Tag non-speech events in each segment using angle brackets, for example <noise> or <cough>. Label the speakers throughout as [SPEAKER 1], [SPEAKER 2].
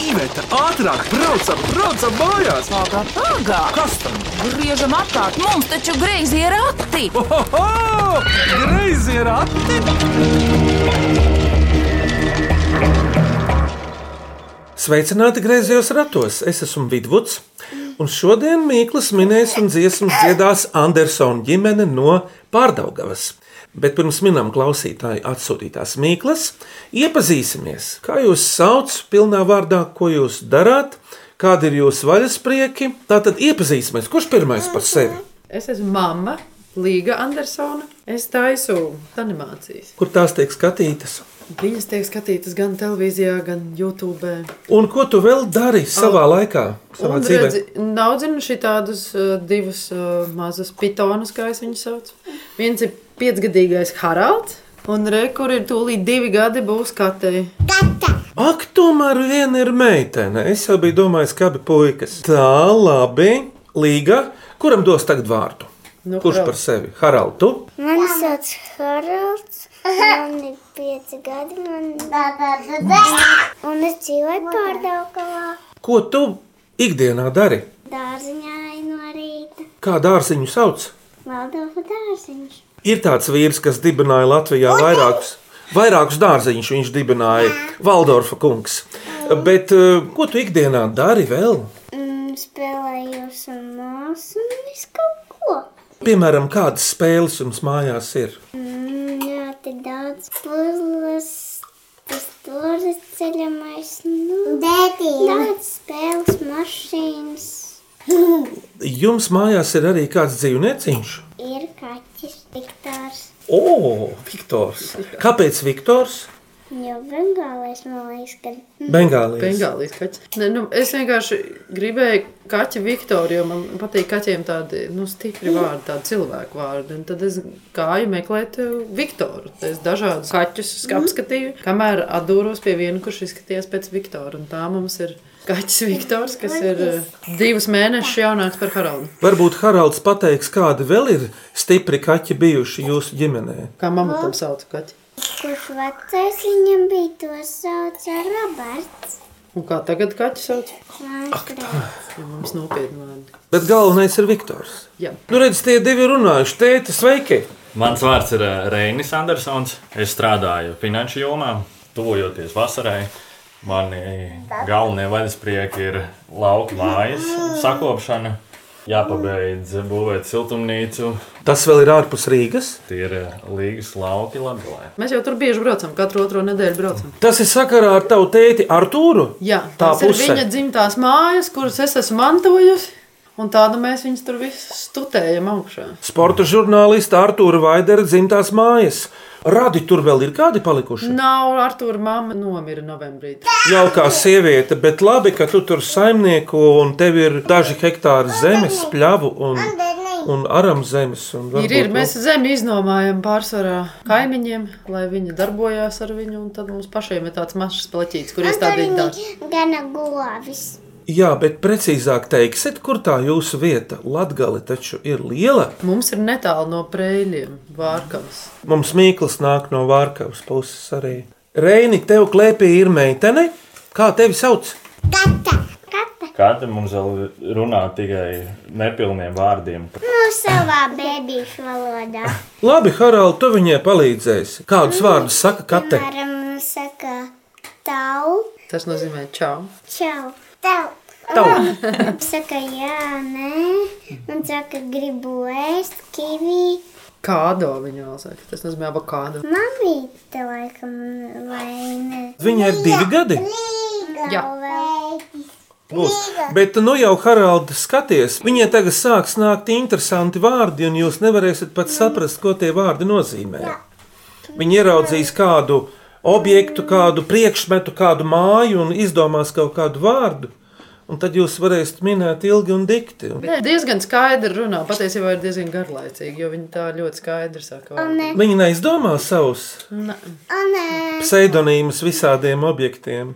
[SPEAKER 1] Iveta, ātrāk, braucam, braucam mājās!
[SPEAKER 2] Pagā, pagā!
[SPEAKER 1] Kas tam?
[SPEAKER 2] Griežam apkārt, mums taču greizi ir rati!
[SPEAKER 1] Ohoho! Greizi ir ati!
[SPEAKER 3] Sveicināti griezījos ratos. Es esmu Vidvuds. Un šodien Mikls minēs un dziesmas dziedās Andersona ģimene no Pārdaugavas. Bet pirms minām klausītāju atsūtītās Mikls, iepazīsimies, kā jūs sauc, pilnā vārdā, ko jūs darāt, kādi ir jūsu vaļasprieki. Tātad iepazīsimies, kurš pirmais par sevi,
[SPEAKER 4] Es esmu mamma, Līga Andersona. Es taisu animācijas.
[SPEAKER 3] kur tās tiek skatītas.
[SPEAKER 4] Viņas tiek skatītas gan televīzijā, gan YouTube.
[SPEAKER 3] Un ko tu vēl dari savā laikā, savā
[SPEAKER 4] Un
[SPEAKER 3] dzīvē?
[SPEAKER 4] redzi, Naudzinuši tādus uh, divus uh, mazus pitonus, kā es viņus saucu. Viens ir piecgadīgais Haralds, un re, kur ir tūlīt divi gadi būs katei.
[SPEAKER 3] Ak, tomēr viena ir meitene. Es jau biju domājis, ka abi puikas. Tā, labi. Līga, kuram dos tagad vārdu?
[SPEAKER 4] Nu,
[SPEAKER 3] Kurš
[SPEAKER 4] Haralds.
[SPEAKER 3] par sevi? Haralds, tu?
[SPEAKER 5] Mani sauc Haralds, man ir pieci gadi, man un es dzīvoju pārdaukavā.
[SPEAKER 3] Ko tu ikdienā dari?
[SPEAKER 5] Dārziņā eju no rīta,
[SPEAKER 3] Kā dārziņu sauc?
[SPEAKER 5] Valdova dārziņš.
[SPEAKER 3] Ir tāds vīrs, kas dibināja Latvijā vairākus, vairākus dārziņus. Viņš dibināja Valdorfa kungs. Bet eh, ko tu ikdienā dari vēl?
[SPEAKER 5] Mm, spēlējos un māsu un visu kaut ko.
[SPEAKER 3] Piemēram, kādas spēles jums mājās ir?
[SPEAKER 5] Mm, ļoti daudz puzles, tas turis ceļamais, nu. Dētī. Daudz spēles mašīnas.
[SPEAKER 3] Jums mājās ir arī kāds dzīvnieciņš?
[SPEAKER 5] Ir kaķis, diktārs.
[SPEAKER 3] O, Viktors! Kāpēc Viktors?
[SPEAKER 5] Jo Bengālais man liekas, ka
[SPEAKER 4] Mm.
[SPEAKER 3] Bengālijas.
[SPEAKER 4] Bengālijas kaķis. Ne, nu, es vienkārši gribēju kaķi Viktoru, jo man patīk kaķiem tādi nu, stipri vārdi, tādi cilvēku vārdi. Un tad es gāju meklēt uh, Viktoru. Es dažādus kaķus apskatīju, kamēr atdūros pie viena, kurš izskatījās pēc Viktora. Un tā mums ir kaķis Viktors, kas ir uh, divus mēnešus jaunāks par Haraldu.
[SPEAKER 3] Varbūt Haralds pateiks, kādi vēl ir stipri kaķi bijuši jūsu ģimenē.
[SPEAKER 4] Kā mamma tam sauc kaķi.
[SPEAKER 5] kurš vecais viņam bija to sauc ar Roberts.
[SPEAKER 4] Un kā tagad kaķi sauc?
[SPEAKER 5] Mākslinieks.
[SPEAKER 4] Ja mums nopietni vārdi.
[SPEAKER 3] Bet galvenais ir Viktors.
[SPEAKER 4] Jā.
[SPEAKER 3] Nu, redziet, tie divi runājuši, tēti, sveiki!
[SPEAKER 6] Mans vārds ir ā, Reinis Andersons. Es strādāju finanšu jomā, tuvojoties vasarai. Mani galvenie vaļasprieki ir lauka mājas sakopšana. Jāpabeidz būvēt siltumnīcu.
[SPEAKER 3] Tas vēl ir ārpus Rīgas.
[SPEAKER 6] Tie ir ā, līgas lauki Latvijā.
[SPEAKER 4] Mēs jau tur bieži braucam, katru otro nedēļu braucam.
[SPEAKER 3] Tas ir sakarā ar tavu tēti Artūru.
[SPEAKER 4] Jā,
[SPEAKER 3] tā
[SPEAKER 4] tās ir
[SPEAKER 3] puse.
[SPEAKER 4] viņa dzimtās mājas, kuras es esmu mantojusi. Un tādu mēs viņus tur visus stutējam augšā.
[SPEAKER 3] Sporta žurnālista Artūra Vaidera dzimtās mājas. Radi tur vēl ir kādi palikuši?
[SPEAKER 4] Nav Artur, mamma nomira novembrī.
[SPEAKER 3] Jaukā sieviete, bet labi, ka tu tur saimnieko un tev ir daži hektāri zemes, pļavu un, un aram zemes. Un
[SPEAKER 4] Ir, ir,
[SPEAKER 3] varbūt nu.
[SPEAKER 4] mēs zemi iznomājam pārsvarā kaimiņiem, lai viņi darbojās ar viņu. Un tad mums pašiem ir tāds mazs plaķīts, kur iestādīt tādu.
[SPEAKER 5] Gana govis.
[SPEAKER 3] Jā, bet precīzāk teiksit, kur tā jūsu vieta? Latgale taču ir liela.
[SPEAKER 4] Mums ir netālu no prēļiem, vārkavas.
[SPEAKER 3] Mums Mīkls nāk no Vārkavas puses arī. Reini, tev klēpī ir meitene? Kā tevi sauc?
[SPEAKER 5] Kata. Kata.
[SPEAKER 6] Kāda mums vēl runā tikai nepilniem vārdiem?
[SPEAKER 5] Nu, savā bēbīšu valodā.
[SPEAKER 3] Ah, Labi, Harald, tu viņai palīdzēsi. Kādus vārdus saka kate?
[SPEAKER 5] Piemēram, nu, saka tau,
[SPEAKER 4] Tas nozīmē čau.
[SPEAKER 5] čau. Tau.
[SPEAKER 3] Tau.
[SPEAKER 5] Saka jā, nē. Un saka gribu ēst kivī.
[SPEAKER 4] Kādo viņa vēl saka? Tas nozīmē avokādu.
[SPEAKER 5] Mamīte laikam vai ne.
[SPEAKER 3] Viņai ir divi gadi.
[SPEAKER 4] Jā.
[SPEAKER 5] Vēl.
[SPEAKER 3] Būs. Bet nu jau, Harald, skaties, viņai tagad sāks nākt interesanti vārdi, un jūs nevarēsiet pat saprast, ko tie vārdi nozīmē. Viņi ieraudzīs kādu objektu, kādu priekšmetu, kādu māju un izdomās kaut kādu vārdu. Un tad jūs varēsiet minēt ilgi un dikti. Un
[SPEAKER 4] Nē, diezgan skaidri runā. Patiesībā ir diezgan garlaicīgi, jo viņi tā ļoti skaidri saka. vārdu.
[SPEAKER 3] Viņi neizdomā savus
[SPEAKER 5] O, nē.
[SPEAKER 3] pseidonīmus visādiem objektiem.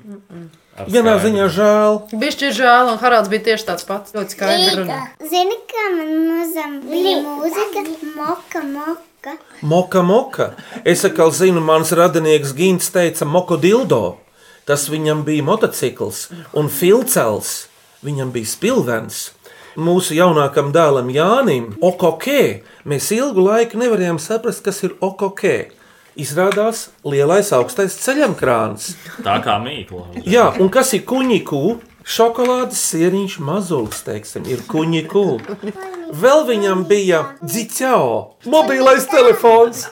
[SPEAKER 3] Vienā ziņā žēl.
[SPEAKER 4] Bišķi ir žēl, un Haralds bija tieši tāds pats. Ļoti skaidri runā.
[SPEAKER 5] Zini, kā man mazam bija mūzika, moka, moka.
[SPEAKER 3] Moka, moka. Es atkal zinu, mans radinieks Gins teica, moka dildo. Tas viņam bija motocikls un filcels. Viņam bija spilvens. Mūsu jaunākam dēlam Jānim, Okokē, mēs ilgu laiku nevarējām saprast, kas ir Okokē. Izrādās lielais augstais ceļamkrāns.
[SPEAKER 6] Tā kā mīkla.
[SPEAKER 3] Jā, un kas ir kuņģīku? Šokolādes sēriņš mazulis, teiksim, ir kuņģīku. Vēl viņam bija dziļo, mobilais telefons.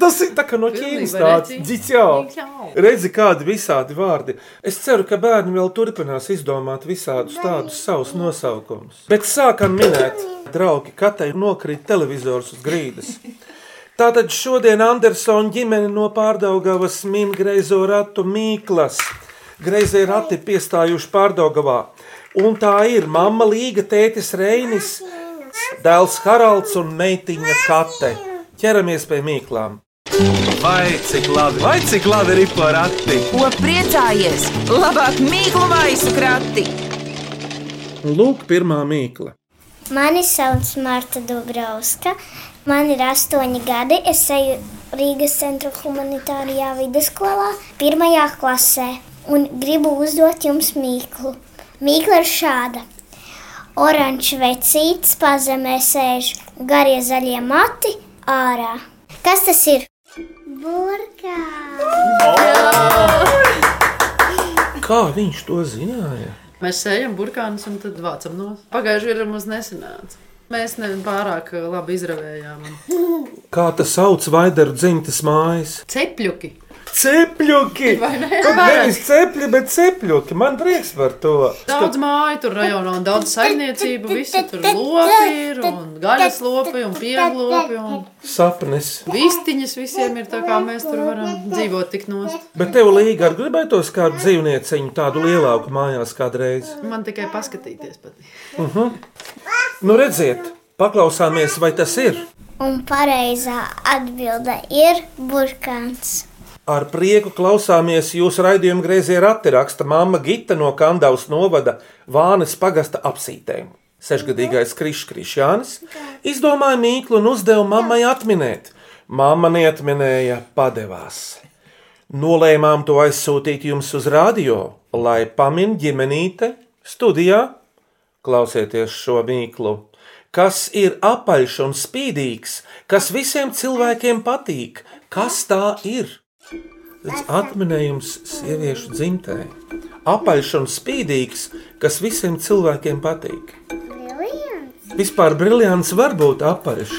[SPEAKER 3] Tas ir tā kā no Ķīnas tāds
[SPEAKER 4] Pilnīgi
[SPEAKER 3] dziļo.
[SPEAKER 4] Dzicjao.
[SPEAKER 3] Redzi, kādi visādi vārdi. Es ceru, ka bērni vēl turpinās izdomāt visādus tādus savus nosaukumus. Bet sākam minēt, draugi, katrai nokrīt televizors uz grīdas. Tātad šodien Andersona ģimene no Pārdaugavas min greizo ratu mīklas. Greizie rati piestājuši Pārdaugavā. Un tā ir mamma Līga, tētis Reinis, dēls Haralds un meitiņa Kate. Ķeramies pie mīklām.
[SPEAKER 1] Vai cik labi, vai cik labi ir porati?
[SPEAKER 2] Ko priecājies? Labāk mīklu maisu krati.
[SPEAKER 3] Lūk, pirmā mīkla.
[SPEAKER 5] Mani sauc Marta Dubravska. Man ir astoņi gadi. Es eju Rīgas centra humanitārijā vidusskolā, pirmajā klasē. Un gribu uzdot jums mīklu. Mīkla ir šāda. Oranžs vecītis pazemē sēž garie zaļie mati ārā. Kas tas ir? Burkā!
[SPEAKER 3] Kā viņš to zināja?
[SPEAKER 4] Mēs sējam burkānus un tad vācam no. Pagājušajā gadā mums nesanāca. Mēs ne pārāk eh, labi izravējām.
[SPEAKER 3] Kā tas sauc Vaidara dzimtas mājas?
[SPEAKER 4] Cepļuki.
[SPEAKER 3] Cepļuki!
[SPEAKER 4] Vai ne?
[SPEAKER 3] Kaut Nevis cepļi, bet cepļuki. Man prieks par to.
[SPEAKER 4] Daudz māju tur rajonā un daudz saimniecību. Visi tur lopi ir un gaļas lopi un pieglopi un
[SPEAKER 3] Sapnis.
[SPEAKER 4] vistiņas visiem ir tā kā mēs tur varam dzīvot tik nost.
[SPEAKER 3] Bet tev līga ar gribētos kādu dzīvnieciņu, tādu lielāku mājās kādreiz.
[SPEAKER 4] Man tikai paskatīties patīk.
[SPEAKER 3] Nu, redziet, paklausāmies, vai tas ir.
[SPEAKER 5] Un pareizā atbilde ir burkāns.
[SPEAKER 3] Ar prieku klausāmies jūsu raidījuma griezē rati raksta mamma Gita no Kandavas novada Vānes pagasta apsītē. Sešgadīgais Krišs Krišjānis izdomāja mīklu un uzdeva mammai atminēt. Mamma neatminēja, padevās. Nolēmām to aizsūtīt jums uz radio, lai pamin ģimenīte studijā. Klausieties šo mīklu, kas ir apaļš un spīdīgs, kas visiem cilvēkiem patīk. Kas tā ir? Tas atminējums sieviešu dzimtē. Apaļš un spīdīgs, kas visiem cilvēkiem patīk. Vispār brīvs var būt apaļš.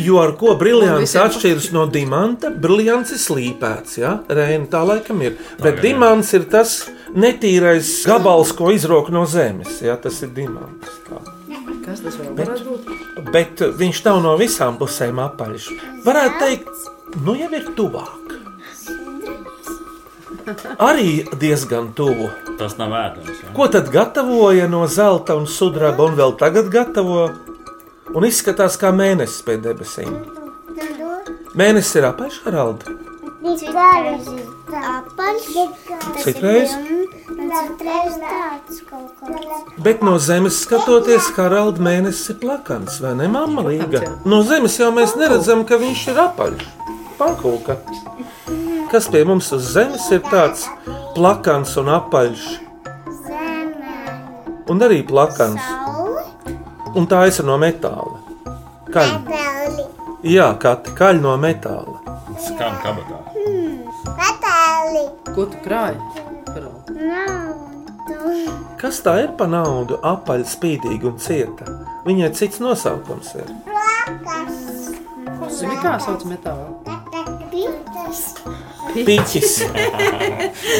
[SPEAKER 3] Jo ar ko brīvs
[SPEAKER 4] visiem
[SPEAKER 3] atšķiras no dimanta? Brīvs ir slīpēts, ja Reina, tā laikam ir. Bet dimants ir tas netīrais gabals, ko izrok no zemes. Ja? Tas ir dimants. Tā.
[SPEAKER 4] Kas tas vēl varētu būt?
[SPEAKER 3] Bet viņš nav no visām pusēm apaļš. Varētu teikt, nu jau ir tuvāk. Arī diezgan tuvu.
[SPEAKER 6] Tas nav ēdams. Ja?
[SPEAKER 3] Ko tad gatavoja no zelta un sudraba, un vēl tagad gatavo? Un izskatās kā mēnesis pie debesīm.
[SPEAKER 5] é
[SPEAKER 3] Mēnesis ir apaļš, Haralds.
[SPEAKER 5] Citreiz apaļš,
[SPEAKER 3] Citreiz?
[SPEAKER 5] un citreiz tāds kaut kāds.
[SPEAKER 3] Bet no zemes skatoties, Haralds mēnesis ir plakans, vai ne? Māma līga. No zemes jau mēs neredzam, ka viņš ir apaļš. Pankūka. Kas pie mums uz zemes ir tāds plakans un apaļš,
[SPEAKER 5] Zemē,
[SPEAKER 3] un arī plakans,
[SPEAKER 5] saule,
[SPEAKER 3] un tā ir no metāla. Kaļ,
[SPEAKER 5] peli,
[SPEAKER 3] jā, kati, kaļ no metāla.
[SPEAKER 6] Skan kabatā.
[SPEAKER 5] peli,
[SPEAKER 4] Ko tu krāji? Parādi.
[SPEAKER 5] naudu,
[SPEAKER 3] Kas tā ir pa naudu? Apaļ, spīdīga un cieta. Viņai cits nosaukums ir.
[SPEAKER 5] plakas,
[SPEAKER 4] Zini, kā sauc metālu?
[SPEAKER 5] pītas,
[SPEAKER 3] Piķis.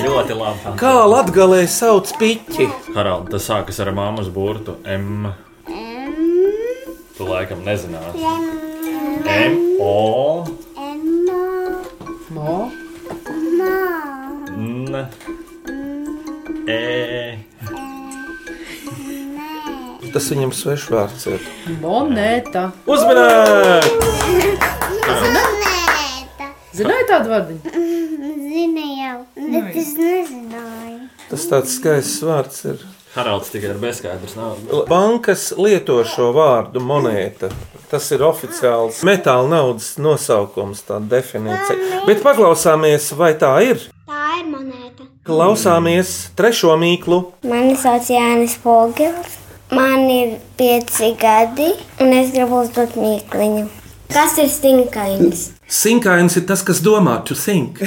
[SPEAKER 6] Ļoti labi.
[SPEAKER 3] Kā latgalē sauc piķi?
[SPEAKER 6] Harald, tas sākas ar māmas burtu M. Tu laikam nezināsi. M. O.
[SPEAKER 5] emo,
[SPEAKER 4] Mo.
[SPEAKER 6] N. E.
[SPEAKER 3] Tas viņam svešvārds ir.
[SPEAKER 4] Monēta.
[SPEAKER 3] Uzmanīgi!
[SPEAKER 5] monēta.
[SPEAKER 4] Zināji tādu vārdu?
[SPEAKER 5] Zini jau, bet es nezināju.
[SPEAKER 3] Tas tāds skaists vārds ir.
[SPEAKER 6] Haralds tikai ir bezskaidrs. Nav.
[SPEAKER 3] Bankas lieto šo vārdu monēta. Tas ir oficiāls metāla naudas nosaukums, tā definīcija. Bet paklausāmies, vai tā ir.
[SPEAKER 5] Tā ir monēta.
[SPEAKER 3] Klausāmies trešo mīklu.
[SPEAKER 5] Mani sauc Jānis Pogels. Man ir pieci gadi, un es gribu uzdot mīkliņu. Kas ir stinkains?
[SPEAKER 3] Sinkains ir tas, kas domā, to think.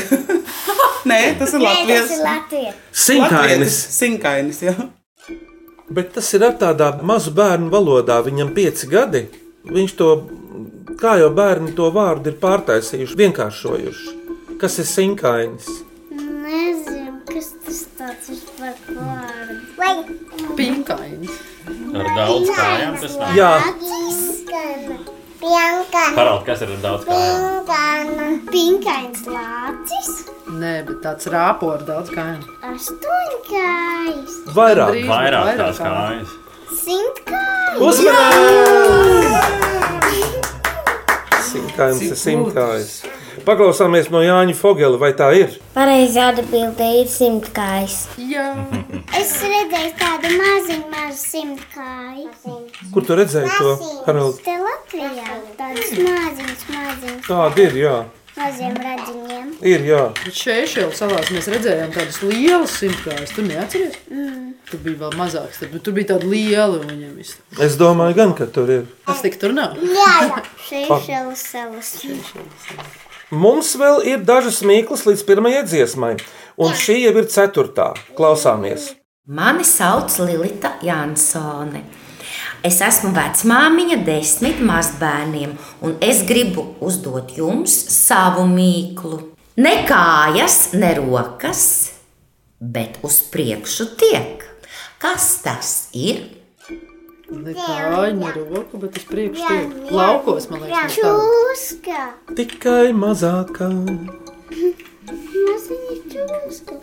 [SPEAKER 7] Nē, tas ir
[SPEAKER 5] Nē, tas
[SPEAKER 7] Latvijas.
[SPEAKER 5] ir Latvijas.
[SPEAKER 3] Sinkainis.
[SPEAKER 7] Sinkainis, jā.
[SPEAKER 3] Bet tas ir ar tādā mazu bērnu valodā, viņam pieci gadi. Viņš to, kā jau bērni to vārdu ir pārtaisījuši, vienkāršojuši. Kas ir sinkainis?
[SPEAKER 5] Nezinu, kas tas tāds ir par vārdu.
[SPEAKER 4] Pinkains.
[SPEAKER 6] Ar daudz kājām tas nav.
[SPEAKER 3] Jā,
[SPEAKER 5] Pinkana. Pinkana.
[SPEAKER 6] Parādi, kas ir ar daudz kājām.
[SPEAKER 5] Pinkana. Pinkains lācis.
[SPEAKER 4] Nē, bet tāds rāpo ar daudz kājām.
[SPEAKER 5] Astoņkājs.
[SPEAKER 3] vairāk.
[SPEAKER 4] Drīz, bet
[SPEAKER 6] Vairāk tās
[SPEAKER 4] kājām.
[SPEAKER 6] kājas.
[SPEAKER 5] Simtkājs.
[SPEAKER 3] Uzmanības! Sinkainis ir sinkainis. Paklausāmies no Jāņa Fogela, vai tā ir?
[SPEAKER 5] Pareizā atbildē ir simtkājs.
[SPEAKER 4] Jā,
[SPEAKER 5] Es redzēju tādu maziņu, mazu simtkāju.
[SPEAKER 3] Kur tu redzēji to? Harald?
[SPEAKER 5] Te Latvijā tāds maziņš, maziņš,
[SPEAKER 3] Tāda ir, jā.
[SPEAKER 5] maziem radziņiem.
[SPEAKER 3] Ir, jā.
[SPEAKER 4] bet šeit jau salās mēs redzējām tādus lielus simtkājus. Tu neatceries? Mm. Tu biji vēl mazāks, tad, bet tu biji tāda liela un viņam viss.
[SPEAKER 3] Es domāju, gan, ka tur ir.
[SPEAKER 4] Tas tik tur nav.
[SPEAKER 5] Jā, jā. Seišelas salas.
[SPEAKER 3] Mums vēl ir dažas mīklas līdz pirmajai dziesmai, un šī jau ir ceturtā. Klausāmies!
[SPEAKER 8] Mani sauc Lilita Jansone. Es esmu vecmāmiņa desmit mazbērniem, un es gribu uzdot jums savu mīklu. Ne kājas, ne rokas, bet uz priekšu tiek. Kas tas ir?
[SPEAKER 4] Ne kāju, ne roku, bet uz priekšu tiek. Laukos, man liekas, no tā.
[SPEAKER 5] Čūska.
[SPEAKER 3] Tikai mazākā.
[SPEAKER 5] Maziņa čūska.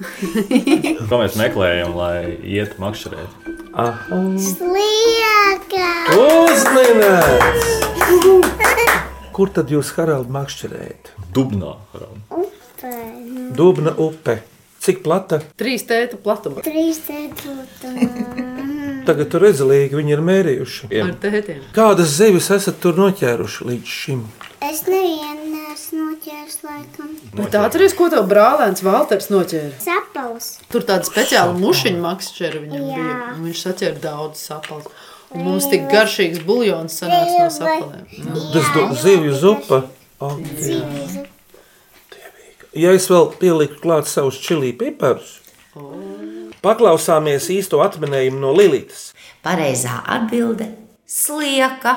[SPEAKER 6] Ko mēs meklējam, lai iet makšķerēt?
[SPEAKER 3] Aha.
[SPEAKER 5] Slieka.
[SPEAKER 3] Uzmanības! Kur tad jūs, Harald, makšķerējat?
[SPEAKER 6] Dubnā. varam.
[SPEAKER 5] Upe.
[SPEAKER 3] Dubna upe. Cik plata?
[SPEAKER 4] Trīs tēta platuma.
[SPEAKER 5] Trīs ceturtumā.
[SPEAKER 3] Tagad tur redzīgi viņi ir mērījuši.
[SPEAKER 4] Ar tētiem.
[SPEAKER 3] Kādas zivis esat tur noķēruši līdz šim?
[SPEAKER 5] Es nevienu neesmu noķēris laikam.
[SPEAKER 4] Bet atceries, ko tev brālēns Valters noķēra?
[SPEAKER 5] Sapals.
[SPEAKER 4] Tur tāda speciāla mušiņa makšķera viņam
[SPEAKER 5] Jā.
[SPEAKER 4] bija. un Viņš saķēra daudz sapalku. Un mums tik garšīgs buļļons sanāca no sapalēm.
[SPEAKER 5] E
[SPEAKER 3] Tas du- zivju zupa. Oh. Ja es vēl pieliku klāt savus čili piparus, paklausāmies īsto atminējumu no Lilītas.
[SPEAKER 8] Pareizā atbilde - slieka.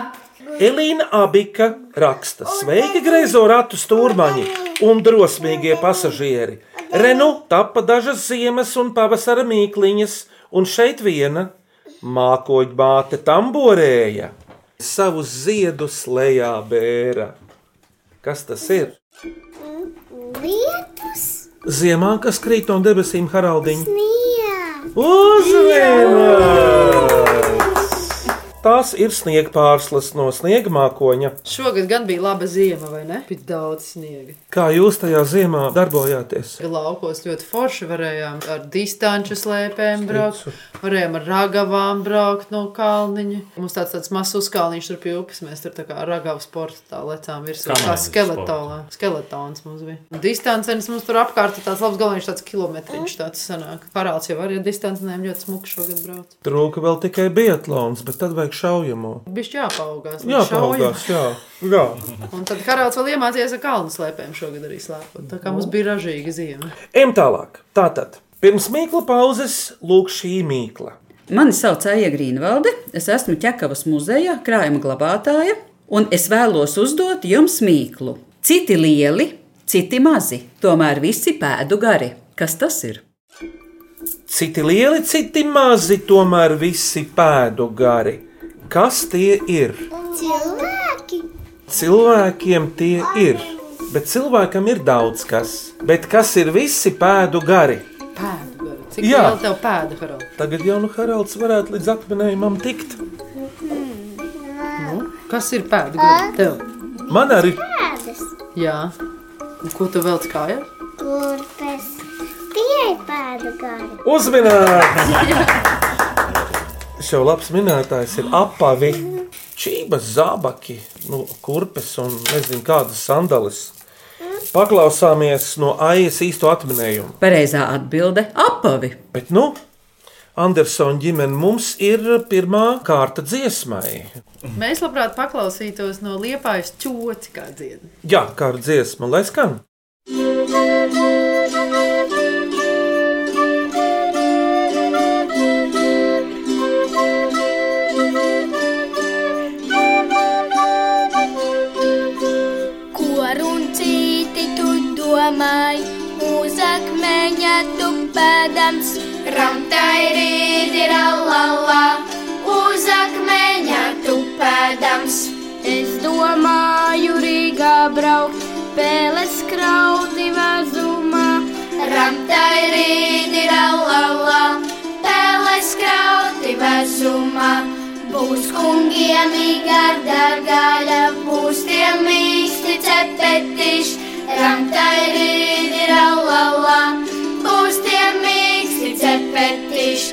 [SPEAKER 3] Elīna Abika raksta: Sveiki, greizo ratu stūrmaņi un drosmīgie pasažieri! Renu tapa dažas ziemas un pavasara mīkliņas, un šeit viena mākoņbāte tamborēja savus ziedus lejā bērā. Kas tas ir?
[SPEAKER 5] Lietus.
[SPEAKER 3] Ziemā, kas krīt no debesīm, Haraldiņa.
[SPEAKER 5] Nijā.
[SPEAKER 3] Uzmanības! Tās ir sniegpārslas no sniega mākoņa.
[SPEAKER 4] Šogad gan bija laba zima, vai ne? Bija daudz sniega.
[SPEAKER 3] Kā jūs tajā ziemā darbojāties?
[SPEAKER 4] Laukos ļoti forši varējām ar distanču slēpēm braukt, varējām ar ragavām braukt no kalniņa. Mums tāds, tāds mazs uzkalniņš tur pie upes, mēs tur tā kā ragavu sporta tā lecām virsū. Kā
[SPEAKER 6] Komandas
[SPEAKER 4] skeletonā. Skeletons mums bija. Distancenis mums tur apkārt ir tāds labs galvenais, tāds kilometriņš tāds sanāk. Parāds jau arī ar distancenēm ļoti smuki šogad braukt.
[SPEAKER 3] Trūka vēl tikai biatlons, bet tad vajag šaujamo.
[SPEAKER 4] Bišķi jāpaugās.
[SPEAKER 3] Jā,
[SPEAKER 4] mēs šaujam.
[SPEAKER 3] paugās, jā. jā.
[SPEAKER 4] Un tad karāts vēl iemācījās ar kalnu slēpēm šogad arī slēpot. Tā kā mums bija ražīga zima.
[SPEAKER 3] Ejam tālāk. Tātad, pirms mīkla pauzes, lūk, šī mīkla.
[SPEAKER 9] Mani sauc Aija Grīnvalde, es esmu Čekavas muzeja krājuma glabātāja, un es vēlos uzdot jums mīklu. Citi lieli, citi mazi, tomēr visi pēdu gari. Kas tas ir?
[SPEAKER 3] Citi lieli, citi mazi, tomēr visi pēdu gari. Kas tie ir?
[SPEAKER 5] Cilvēki.
[SPEAKER 3] Cilvēkiem tie ir, bet cilvēkam ir daudz kas. Bet kas ir visi pēdu gari?
[SPEAKER 4] Pēdu garu. Cik
[SPEAKER 3] Jā.
[SPEAKER 4] liela tev pēda, Harald?
[SPEAKER 3] Tagad jau nu Haralds varētu līdz atminējumam tikt.
[SPEAKER 4] Kas ir pēda gara tev?
[SPEAKER 3] Man arī
[SPEAKER 5] Kādas?
[SPEAKER 4] Jā. Un ko tu velc kājā?
[SPEAKER 5] Kurpes. Tie ir pēdu gari.
[SPEAKER 3] uzmanīgs! Šo labs minētājs ir apavi, čības zābaki, nu, kurpes un nezinu kādas sandalis. Paklausāmies no AIS īsto atminējumu.
[SPEAKER 9] Pareizā atbilde - apavi.
[SPEAKER 3] Bet, nu, Andersona ģimene mums ir pirmā kārta dziesmai.
[SPEAKER 4] Mēs labprāt paklausītos no liepājas ķoci kā dziedā.
[SPEAKER 3] Jā, kā ar dziesmu, lai skan.
[SPEAKER 10] Ko runcīti tu domāji, uz akmeņa tupēdams? Ramtai rīdi rallala, uz akmeņa tupēdams. Es domāju Rīgā braukt, pēles kraudi vazumā. Ramtai rīdi rallala, pēles kraudi vazumā. Būs kungiem īgarda gaļa, būs tiem īsti cepetiš, ramtai rīdi raulala, būs tiem īsti cepetiš,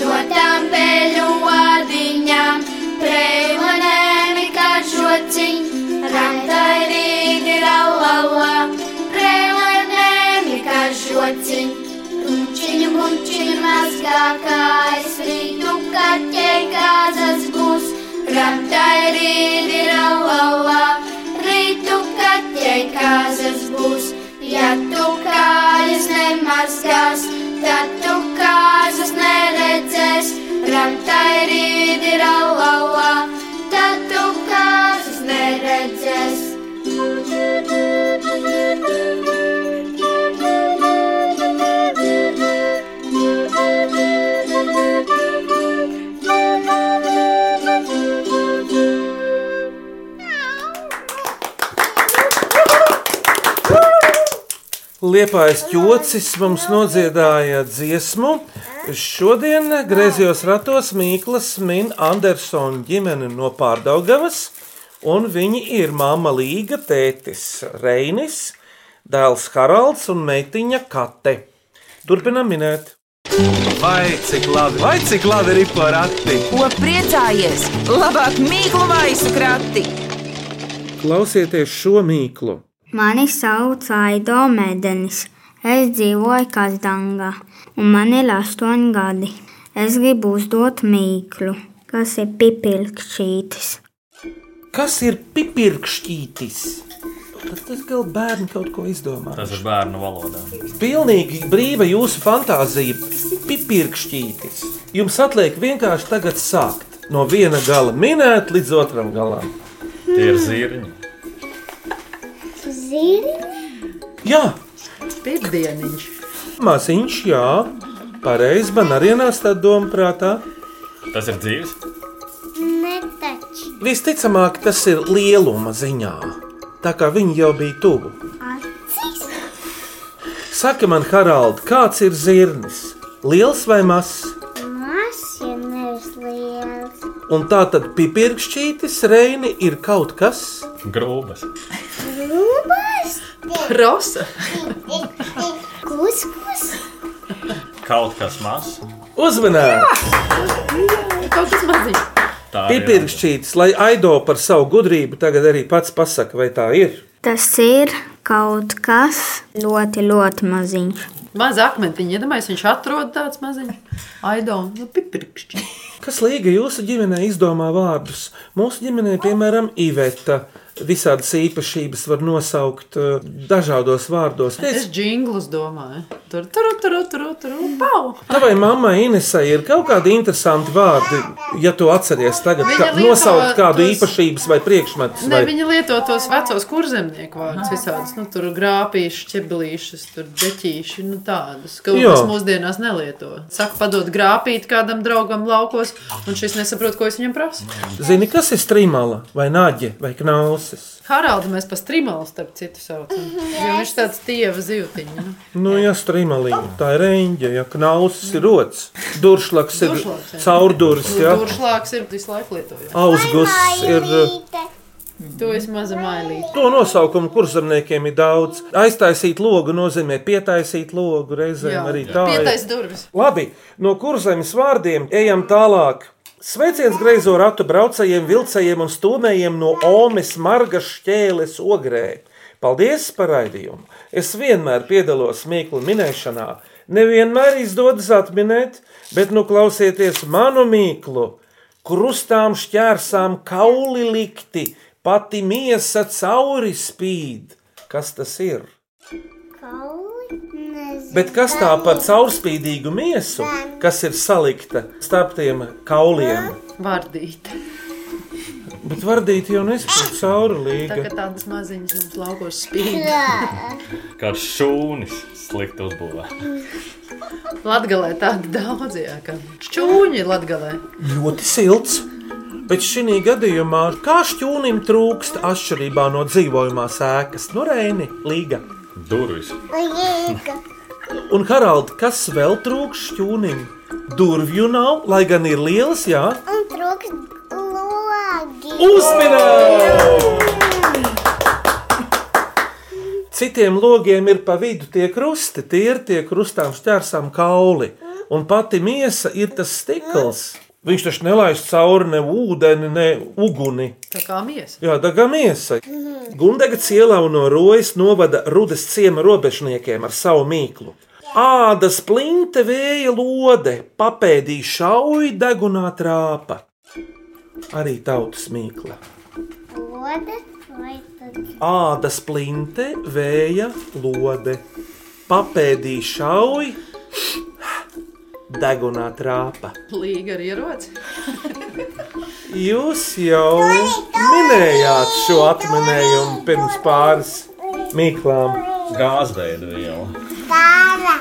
[SPEAKER 10] no tām peļu vādiņām, preilonēmi kā žociņ, ramtai rīdi raulala, preilonēmi kā žociņ. Runčiņu munčiņu mazgākais, rītu kaķē gāzas būs, ramtai rīdi raulala, rītu kaķē gāzas būs. Ja tu kājas nemazgās, tad tu kāzas neredzēs, ramtai rīdi raulala, tad tu kāzas neredzēs.
[SPEAKER 3] Liepais ķocis mums nodziedāja dziesmu. Šodien griezījos ratos Mīklas min Andersona ģimene no Pārdaugavas, un viņi ir māma Līga, tētis Reinis, dēls Haralds un meitiņa Kate. Turpinam minēt.
[SPEAKER 1] Vai cik labi, vai cik labi ir porati?
[SPEAKER 2] Ko priecājies? Labāk mīklu maisu krati!
[SPEAKER 3] Klausieties šo mīklu.
[SPEAKER 5] Mani sauc Aido Mēdenis. Es dzīvoju Kazdangā, un man ir astoņi gadi. Es gribu uzdot mīklu, kas ir pipirkšķītis.
[SPEAKER 3] Kas ir pipirkšķītis? Tad tas gal bērni kaut ko izdomā.
[SPEAKER 6] Tas ir bērnu valodā.
[SPEAKER 3] Pilnīgi brīva jūsu fantāzija, pipirkšķītis. Jums atliek vienkārši tagad sākt no viena gala minēt līdz otram galam.
[SPEAKER 6] Tie ir zirņi.
[SPEAKER 5] Zini,
[SPEAKER 3] Jā,
[SPEAKER 4] Pirmdieniņš.
[SPEAKER 3] maziņš, jā, pareizi man arī nāca tā doma prātā.
[SPEAKER 6] Tas ir dzīves.
[SPEAKER 5] netaču
[SPEAKER 3] Visticamāk, tas ir lieluma ziņā, tā kā viņi jau bija tuvu.
[SPEAKER 5] acīs.
[SPEAKER 3] Saka man, Harald, kāds ir zirnis? Liels vai mazs?
[SPEAKER 5] Mās ir nevis liels.
[SPEAKER 3] Un tā tad pipirkšķītis reini ir kaut kas,
[SPEAKER 6] Grūbas.
[SPEAKER 5] Rūbās,
[SPEAKER 4] Rosa.
[SPEAKER 5] e, kuskus,
[SPEAKER 6] Kaut kas mazs.
[SPEAKER 3] uzmanīgs.
[SPEAKER 4] Kaut kas maziņš.
[SPEAKER 6] Tā ir
[SPEAKER 3] Pipirkšķītis, lai Aido par savu gudrību tagad arī pats pasakā, vai tā ir.
[SPEAKER 5] Tas ir kaut kas ļoti, ļoti maziņš.
[SPEAKER 4] Maz akmentiņa. Iedomājieties, viņš atrod tāds maziņš. Aidon, nu, pipirkšķi.
[SPEAKER 3] Kas līga jūsu ģimenē izdomā vārdus? Mūsu ģimenē, piemēram, Iveta. Visādas īpašības var nosaukt eh, dažādos vārdos. Tiec,
[SPEAKER 4] Es džinglus domāju. Tur, tur, tur, tur, tur, pau.
[SPEAKER 3] tavai mammai Inesai ir kaut kādi interesanti vārdi, ja tu atceries tagad,
[SPEAKER 4] Viņa
[SPEAKER 3] kā
[SPEAKER 4] lieto
[SPEAKER 3] nosaukt kādu
[SPEAKER 4] tos-
[SPEAKER 3] īpašības vai priekšmetus.
[SPEAKER 4] Ne,
[SPEAKER 3] vai-
[SPEAKER 4] viņi lieto tos vecos kurzemnieku vārdus visādus. Nu, tur grāpīši, ķeblīšas, tur deķīši, nu tādus. Kaut
[SPEAKER 3] Jā.
[SPEAKER 4] kas mūsdienās nelieto. Saka, padod grāpīt kādam draugam laukos, un šis nesaprot, ko es viņam prasu.
[SPEAKER 3] Zini, kas ir strīmala, vai nāģe, vai knausis?
[SPEAKER 4] Haraldu mēs pa strimalu starp citu saucam. Jo viņš tāds tieva zivtiņa. Nu.
[SPEAKER 3] Nu, ja strīmalīna, tā ir reņģe, ja knausis ir rots, duršlaks ir
[SPEAKER 4] Mm. Duršlaks, jā.
[SPEAKER 3] caurdurs, ja
[SPEAKER 4] Turšlāks ir visu laiku lietojams.
[SPEAKER 3] ausgus ir. eh,
[SPEAKER 4] Tu esi maza mailīte.
[SPEAKER 3] To nosaukumu kurzemniekiem ir daudz. Aiztaisīt logu nozīmē pietaisīt logu reizēm
[SPEAKER 4] Jā.
[SPEAKER 3] arī tā. ir.
[SPEAKER 4] Pietais durvis.
[SPEAKER 3] Labi, no kurzemes vārdiem ejam tālāk. Sveiciens greizo ratu braucējiem, vilcējiem un stūmējiem no Omas margas šķēles ogrē. Paldies par raidījumu! Es vienmēr piedalos mīklu minēšanā. Nevienmēr izdodas atminēt, bet nu klausieties manu mīklu. Krustām šķērsām kauli likti, pati miesa cauri spīd. Kas tas ir? Bet kas tā par caurspīdīgu miesu, kas ir salikta starp tiem kauliem?
[SPEAKER 4] Vardīta.
[SPEAKER 3] Bet vardīt jau nespēja
[SPEAKER 4] Tā
[SPEAKER 3] caurulīgi.
[SPEAKER 4] kā tādas maziņas mums laukos spīd.
[SPEAKER 6] Kā šūnis slikti uzbūvē.
[SPEAKER 4] Latgalē tādi daudz, jā, kā šķūņi latgalē.
[SPEAKER 3] Ļoti silts. Bet šī gadījumā kā šķūnim trūkst atšķirībā no dzīvojamās ēkas, no Reini, Līga.
[SPEAKER 6] Durvis.
[SPEAKER 3] Un Haralds, kas vēl trūkst šķūnim? Durvju nav, lai gan ir lielas, jā.
[SPEAKER 5] Un trūkst logi.
[SPEAKER 3] Uzmanīgi! Citiem logiem ir pa vidu tie krusti, tie ir tie krustām šķērsām kauli. Un pati miesa ir tas stikls. Viņš taču nelaiž cauri ne ūdeni, ne uguni.
[SPEAKER 4] Tā kā miesa.
[SPEAKER 3] Jā, daga miesa. Gundaga ciela un no rojas novada rudas ciema robežniekiem ar savu mīklu. Ādas plinte vēja lode, papēdīja šauja degunā trāpa. Arī tautas mīkla.
[SPEAKER 5] Lode vai tad
[SPEAKER 3] Ādas plinte, vēja lode, papēdīja šauja, degunā trāpa.
[SPEAKER 4] Līga ar ieroci.
[SPEAKER 3] Jūs jau minējāt šo atminējumu pirms pāris mīklām.
[SPEAKER 6] Gāzveida viela.
[SPEAKER 5] tāra?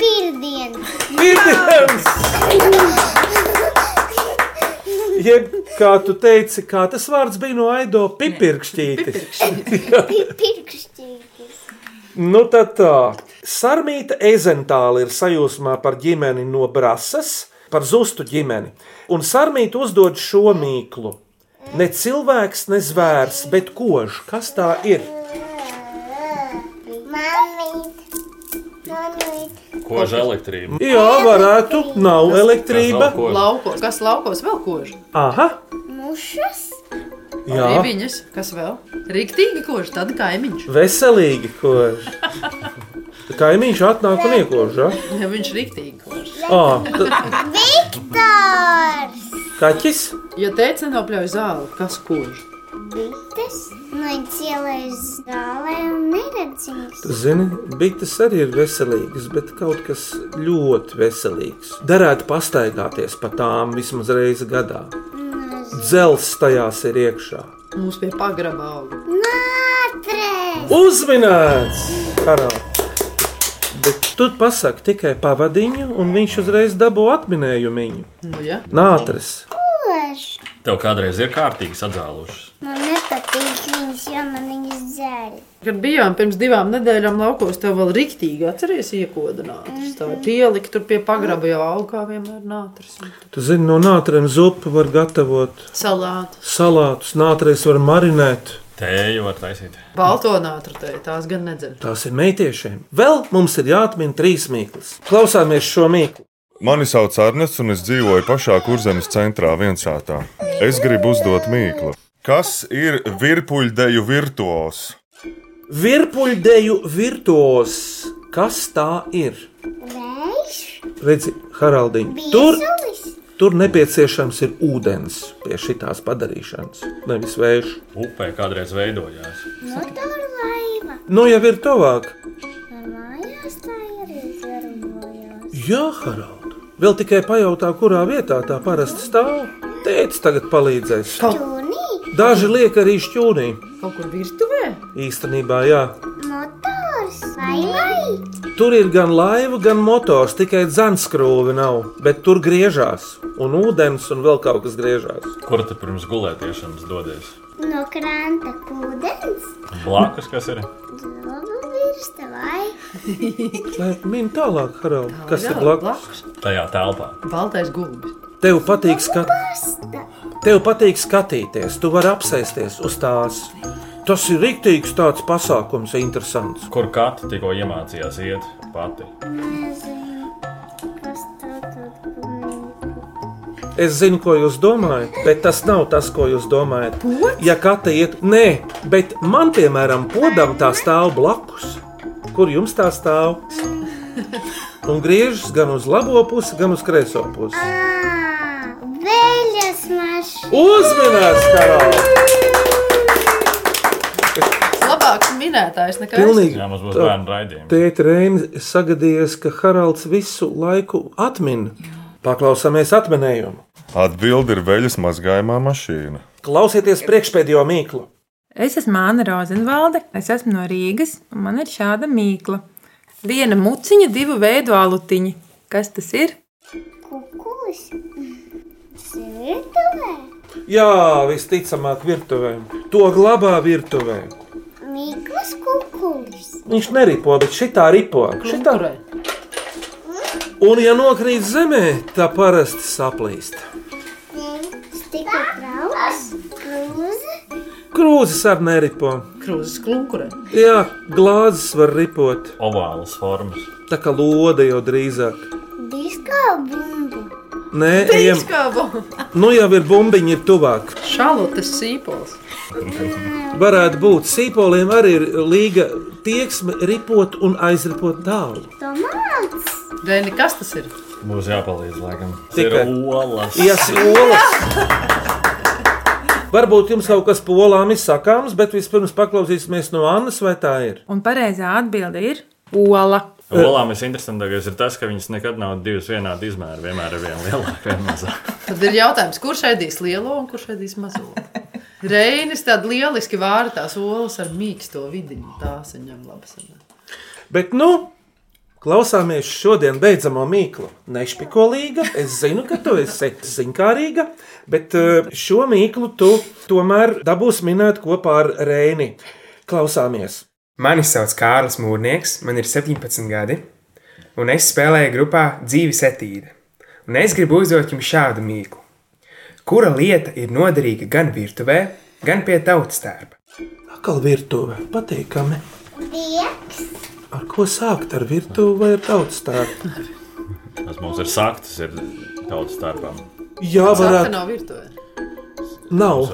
[SPEAKER 5] Pirmdien.
[SPEAKER 3] Pirmdienas! Jeb, kā tu teici, kā tas vārds bija no Aido pipirkšķīti.
[SPEAKER 5] Pirkšķītis.
[SPEAKER 3] Nu, tad tā. Sarmīta Ezentāla ir sajūsmā par ģimeni no Brasas, par zustu ģimeni. Un Sarmīta uzdod šo mīklu. Ne cilvēks, ne zvērs, bet kož. Kas tā ir?
[SPEAKER 5] Mamīt. Mamīt.
[SPEAKER 6] Kož elektrība.
[SPEAKER 3] Jā, varētu, nav elektrība.
[SPEAKER 6] Kož.
[SPEAKER 4] Laukos. Kas laukos vēl kož?
[SPEAKER 3] Aha,
[SPEAKER 5] Mušas.
[SPEAKER 3] jā,
[SPEAKER 4] Rībiņas. Kas vēl? Riktīgi kož, tad kaimiņš.
[SPEAKER 3] veselīgi kož. Kaimiņš atnāk un iekož. Ja?
[SPEAKER 4] Ja viņš riktīgi kož.
[SPEAKER 3] Ah, t-
[SPEAKER 5] Viktors.
[SPEAKER 3] kaķis?
[SPEAKER 4] Ja teica, nopļauj zāli, kas kož?
[SPEAKER 5] Bites. No cielais zālē un neredzīgs.
[SPEAKER 3] Zini, bites arī ir veselīgas, bet kaut kas ļoti veselīgs. Darētu pastaigāties pa tām vismaz reizi gadā. Dzels tajās ir iekšā.
[SPEAKER 4] Mums pie pagraba auga.
[SPEAKER 5] Nātrēs.
[SPEAKER 3] Uzminēts! Karali! Bet tu pasaki tikai pavadiņu, un viņš uzreiz dabū atminējumu.
[SPEAKER 4] Nu, ja?
[SPEAKER 3] Nātris.
[SPEAKER 5] Kož.
[SPEAKER 6] Tev kādreiz ir kārtīgi sadzālušas.
[SPEAKER 5] Man nepatīk viņas, jo man viņas dzēļ.
[SPEAKER 4] Kad bijām pirms divām nedēļām laukos, tev vēl riktīgi atceries iekodināt. Tā pielikt tur pie pagraba jau augā vienmēr nātris.
[SPEAKER 3] Tu zini, no nātriem zupu var gatavot
[SPEAKER 4] Salātu.
[SPEAKER 3] salātus, nātrēs var marinēt.
[SPEAKER 6] Tēju var taisīt.
[SPEAKER 4] Balto nātru te, tās gan nedzer.
[SPEAKER 3] Tās ir meitiešiem. Vēl mums ir jāatmin trīs mīklas. Klausāmies šo mīklu.
[SPEAKER 11] Mani sauc Arnēs, un es dzīvoju pašā kurzemes centrā, viensātā. Es gribu uzdot mīklu. Kas ir virpuļdeju virtuos?
[SPEAKER 3] Virpuļdeju virtuos, kas tā ir?
[SPEAKER 5] Vējš.
[SPEAKER 3] Redzi, Haraldiņ, tur,
[SPEAKER 5] Biezulis.
[SPEAKER 3] tur nepieciešams ir ūdens pie šitās padarīšanas, nevis vējš.
[SPEAKER 6] Upē kādreiz veidojās.
[SPEAKER 5] Nu, Motorlaiva.
[SPEAKER 3] Nu, jau ir tuvāk.
[SPEAKER 5] Man mājās tā ir izvarojās.
[SPEAKER 3] Jā, Harald, vēl tikai pajautā, kurā vietā tā parasti stāv. Tēvs tagad palīdzēs.
[SPEAKER 5] Tunī.
[SPEAKER 3] Daži liek arī šķūnī.
[SPEAKER 4] Kaut kur virtuvē?
[SPEAKER 3] Īstenībā, jā,
[SPEAKER 5] Motors. Vai vai?
[SPEAKER 3] tur ir gan laiva, gan motors, tikai dzenskrūve nav. Bet tur griežās, un ūdens un vēl kaut kas griežās.
[SPEAKER 6] Kur tu pirms gulētiešanas dodies?
[SPEAKER 5] No kranta kūdens.
[SPEAKER 6] Blakus, kas ir?
[SPEAKER 5] Logu virsta vai?
[SPEAKER 3] Lai Min tālāk, Harald, kas ir
[SPEAKER 4] Jā,
[SPEAKER 3] blakus.
[SPEAKER 6] Tajā telpā.
[SPEAKER 4] Baltais gulbis.
[SPEAKER 3] Tev patīk, skat... Tev patīk skatīties, tu vari apsēsties uz tās. Tas ir rīktīgs tāds pasākums, interesants.
[SPEAKER 6] Kur katra tikko iemācījās iet pati.
[SPEAKER 5] Nezinu. Kas tā tur kunīgi.
[SPEAKER 3] Es zinu, ko jūs domājat, bet tas nav tas, ko jūs domājat. Pots? Ja katra iet, nē, bet man, piemēram, podam tā stāv blakus. Kur jums tā stāv? Un griežas gan uz labo pusi, gan uz kreiso pusi.
[SPEAKER 5] Vēļas mašīna.
[SPEAKER 3] Uzmanības karalis!
[SPEAKER 4] Labāks minētājs nekā es.
[SPEAKER 3] Pilnīgi.
[SPEAKER 6] Jā, mums būs
[SPEAKER 3] tā-
[SPEAKER 6] bērnu raidījumi.
[SPEAKER 3] Tēta Reina sagadījies, ka Haralds visu laiku atmin. Paklausāmies atminējumu.
[SPEAKER 11] Atbildi ir veļas mazgājumā mašīna.
[SPEAKER 3] Klausieties priekšpēdējo mīklu.
[SPEAKER 12] Es esmu Anna Rozenvalde, es esmu no Rīgas, un man ir šāda mīkla. Viena muciņa, divu veidu alutiņi. Kas tas ir?
[SPEAKER 5] Kukulis. Svirtuvē.
[SPEAKER 3] Jā, visticamāk, virtuvē. To glabā virtuvē.
[SPEAKER 5] Mīklas kukulis.
[SPEAKER 3] Viņš neripo, bet šitā ripo. Šitā. Un, ja nokrīt zemē, tā parasti saplīst.
[SPEAKER 5] Stikla trauks. Krūze.
[SPEAKER 3] Krūzes ar neripo.
[SPEAKER 4] Krūzes klūkurē.
[SPEAKER 3] Jā, glāzes var ripot.
[SPEAKER 6] Ovālas formas.
[SPEAKER 3] Tā kā lode jau drīzāk.
[SPEAKER 5] Disko bumbu.
[SPEAKER 3] Nē, ejam.
[SPEAKER 4] <laughs>
[SPEAKER 3] Nu jau ir bumbiņi, ir tuvāk.
[SPEAKER 4] Šālotas sīpols.
[SPEAKER 3] Varētu būt sīpoliem arī ir līga tieksme ripot un aizripot tālu.
[SPEAKER 5] Tomāts.
[SPEAKER 4] Dēļ, kas tas ir?
[SPEAKER 6] Būs jāpalīdz, laikam. Tas
[SPEAKER 3] Tikai.
[SPEAKER 6] Ir olas.
[SPEAKER 3] Ies olas. Varbūt jums kaut kas polām ir sakāms, bet vispirms paklausīsimies no Annas, vai tā ir.
[SPEAKER 12] Un pareizā atbilde ir ola.
[SPEAKER 6] Olām visinteresantākais ir tas, ka viņas nekad nav divas vienādas izmēra. Vienmēr ir viena lielāka, viena mazāka.
[SPEAKER 4] Tad ir jautājums, kurš ēdīs lielo un kurš ēdīs mazo. Reinis tāda lieliski vāra tās olas ar mīksto vidiņu. Tās viņam labi sanāk.
[SPEAKER 3] Bet, nu, klausāmies šodien beidzamo mīklu. Nešpikolīga, es zinu, ka tu esi zinkārīga, bet eh, šo mīklu tu tomēr dabūs minēt kopā ar Reini. Klausāmies!
[SPEAKER 13] Mani sauc Kārlis Mūrnieks, man ir 17 gadi, un es spēlēju grupā Dzīves etīde. Un es gribu uzdot jums šādu mīklu. Kura lieta ir noderīga gan virtuvē, gan pie tautas tērpa?
[SPEAKER 3] Atkal virtuve, patīkami.
[SPEAKER 5] Dieks.
[SPEAKER 3] Ar ko sākt ar virtuvi vai ar tautas tērpu?
[SPEAKER 6] Tas mums ir saktas, ir tautas starpām.
[SPEAKER 3] Jā, varētu.
[SPEAKER 4] nav virtuvē.
[SPEAKER 3] Nav.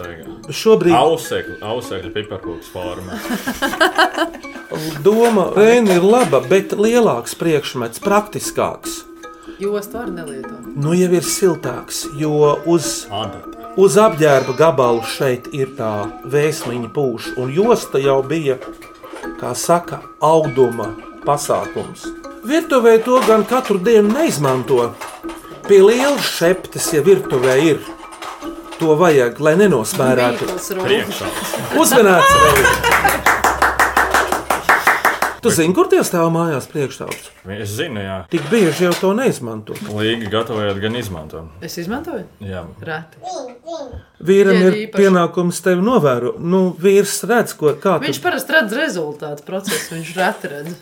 [SPEAKER 3] Šobrīd
[SPEAKER 6] Ausekļa, ausekļa piparkūks forma.
[SPEAKER 3] doma Reina ir laba, bet lielāks priekšmets, praktiskāks.
[SPEAKER 4] Jostu var nelietot.
[SPEAKER 3] Nu jau ir siltāks, jo uz, uz apģērba gabalu šeit ir tā vēsmiņa pūša, un josta jau bija, kā saka, auduma pasākums. Virtuvē to gan katru dienu neizmanto. Pie lielas šeptes, ja virtuvē ir, to vajag, lai nenosmērētu.
[SPEAKER 4] Mīkls rūk.
[SPEAKER 3] Uzmanīts! Tu zini, kur tie stāv mājās priekšstāvs?
[SPEAKER 6] Es zinu, jā.
[SPEAKER 3] Tik bieži jau to neizmanto.
[SPEAKER 6] Līga gatavojot, gan izmantojot.
[SPEAKER 4] Es izmantoju?
[SPEAKER 6] Jā.
[SPEAKER 4] Reti.
[SPEAKER 3] Vīram
[SPEAKER 4] Jā,
[SPEAKER 3] ir
[SPEAKER 4] īpaši.
[SPEAKER 3] pienākums tevi novērot. Nu, vīrs redz, ko kā tu
[SPEAKER 4] Viņš parasti redz rezultātu procesu, viņš reti redz.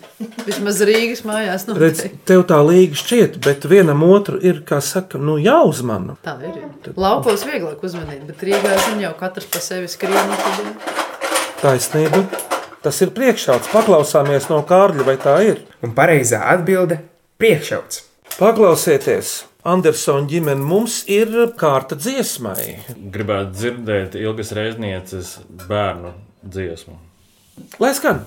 [SPEAKER 4] Vismaz Rīgas mājās
[SPEAKER 3] redz.
[SPEAKER 4] notiek.
[SPEAKER 3] Tev tā līga šķiet, bet vienam otru ir, kā saka, nu jāuzmana.
[SPEAKER 4] Tā ir. jā. Laukos vieglāk uzmanīt, bet Rīgā zina jau katrs pa sevi skrien. nu tad jau.
[SPEAKER 3] Taisnība. Tas ir priekšstāvs. Paklausāmies no Kārļa, vai tā ir?
[SPEAKER 13] Un pareizā atbilde - priekšauts.
[SPEAKER 3] Paklausieties, Andersona ģimene mums ir kārta dziesmai.
[SPEAKER 6] Gribētu dzirdēt ilgas reiznieces bērnu dziesmu.
[SPEAKER 3] Lai skan!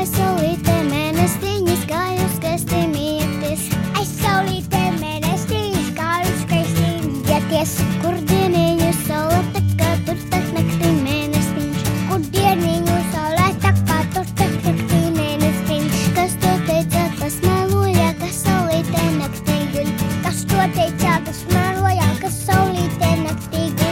[SPEAKER 5] Aiz saulītē mēnestiņas gāju skaisti mieties. Aiz saulītē mēnestiņas gāju skaisti mieties. Kur dieniņu saule tek, kā tur tek naktī mēnestiņš. Kur dieniņu saule tek, kā tur tek naktī mēnestiņš. Kas to teica, kas meloja, kas saulītē naktī guļ. Kas to teica, kas meloja, kas saulītē naktī guļ.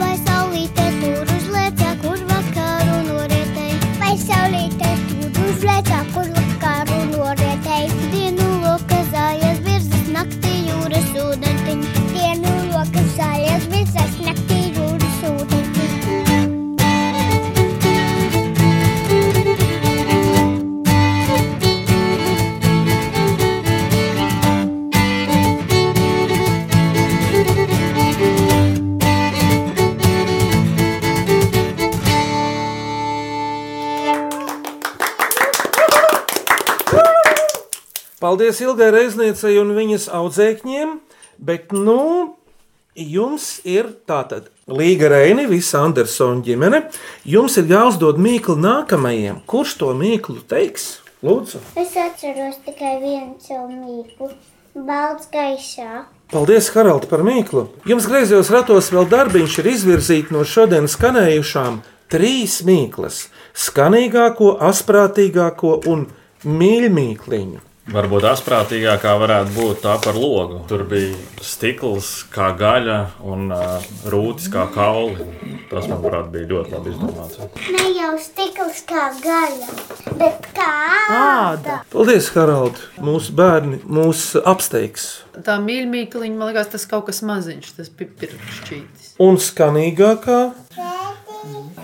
[SPEAKER 5] Vai saulītē tur uzlēcā, kur vakaru norētēji? Vai saulītē tur uzlēcā, kur vakaru norētēji? Dienu
[SPEAKER 3] Paldies Ilgai Reizniecei un viņas audzēkņiem, bet nu, jums ir tātad Līga Reini, visa Andersona ģimene. Jums ir jāuzdod mīklu nākamajiem. Kurš to mīklu teiks? Lūdzu!
[SPEAKER 5] Es atceros tikai vienu cilvēku. Balts gaisā.
[SPEAKER 3] Paldies, Harald, par mīklu. Jums griezos ratos vēl darbiņš ir izvirzīt no šodienas skanējušām trīs mīklas - skanīgāko, asprātīgāko un mīļāko.
[SPEAKER 6] Varbūt asprātīgākā varētu būt tā par logu. Tur bija stikls kā gaļa un ā, rūtis kā kauli. Tas, manuprāt, bija ļoti labi izdomāts.
[SPEAKER 5] Ne jau stikls kā gaļa, bet kā āda.
[SPEAKER 3] Paldies, Harald! Mūsu bērni mūs apsteigs.
[SPEAKER 4] Tā mīļmīkliņa, man liekas, tas kaut kas maziņš, tas pipiršķītis.
[SPEAKER 3] Un skanīgākā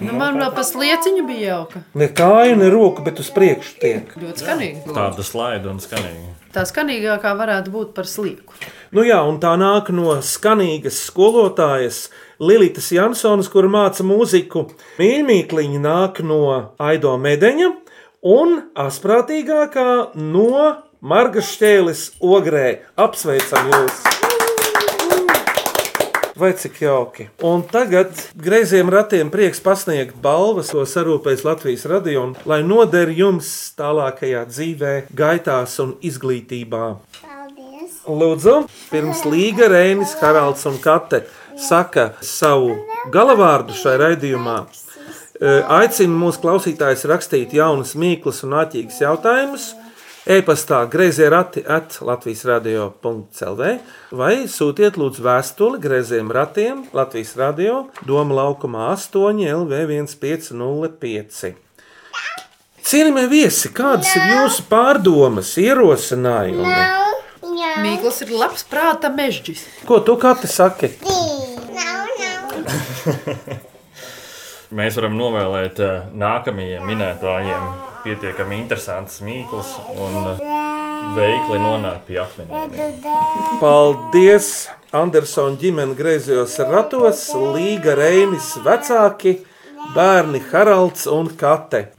[SPEAKER 4] Nu, man vēl pa slieciņu bija jauka.
[SPEAKER 3] ne kāja, ne roka, bet uz priekšu tiek.
[SPEAKER 4] Ļoti skanīgi.
[SPEAKER 6] Tāda slaida un skanīga.
[SPEAKER 4] Tā skanīgākā varētu būt par slieku.
[SPEAKER 3] Nu jā, un tā nāk no skanīgas skolotājas Lilitas Jansonas, kur māca mūziku. Mīļmīkliņa nāk no Aido Medeņa un asprātīgākā no Marga Šķēles ogrē. Apsveicam jūs! Vai cik jauki. Un tagad greiziem ratiem prieks pasniegt balvas, ko sarūpēs Latvijas radio, un lai noder jums tālākajā dzīvē, gaitās un izglītībā.
[SPEAKER 5] Paldies!
[SPEAKER 3] Lūdzu, pirms Līga Rēnis, Haralds un Kate saka savu galavārdu šai raidījumā. e, Aicinu mūsu klausītājus rakstīt jaunas, mīklas un āķīgas jautājumus. E-pastā grazē rati at Latvijas radio. CELV vai sūtiet lūdzu vēstuli grazējiem ratiem Latvijas radio Doma laukumā 8 LV1505. Cienījamie viesi, kādas ir jūsu pārdomas, ierosinājumi?
[SPEAKER 4] Mīkls ir labs prāta mežģis.
[SPEAKER 3] Ko tu kati saki?
[SPEAKER 6] Mēs varam novēlēt ā, nākamajiem minētājiem pietiekami interesants mīkls un ā, veikli nonākt pie akmeņiem.
[SPEAKER 3] Paldies! Andersona ģimene griezījos ratos, Līga Reinis, vecāki, bērni Haralds un Kate.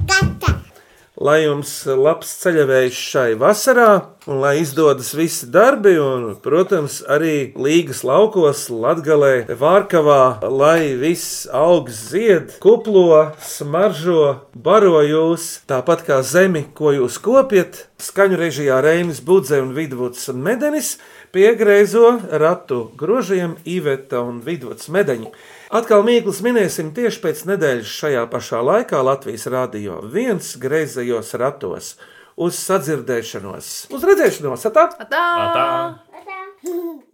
[SPEAKER 3] Lai jums labs ceļavējs šai vasarā, un lai izdodas visi darbi, un, protams, arī Līgas laukos, Latgalē, Vārkavā, lai viss augs zied, kuplo, smaržo, baro jūs, tāpat kā zemi, ko jūs kopjat, skaņu režijā Reinis Budze un Vidvuds Medenis, piegriezo ratu grožiem Iveta un Vidvuds Medeņi. Atkal mīklu minēsim tieši pēc nedēļas šajā pašā laikā Latvijas rādio viens griezējos ratos. Uz sadzirdēšanos, uz redzēšanos, atā!
[SPEAKER 4] Tā!
[SPEAKER 6] Atā!
[SPEAKER 5] Atā.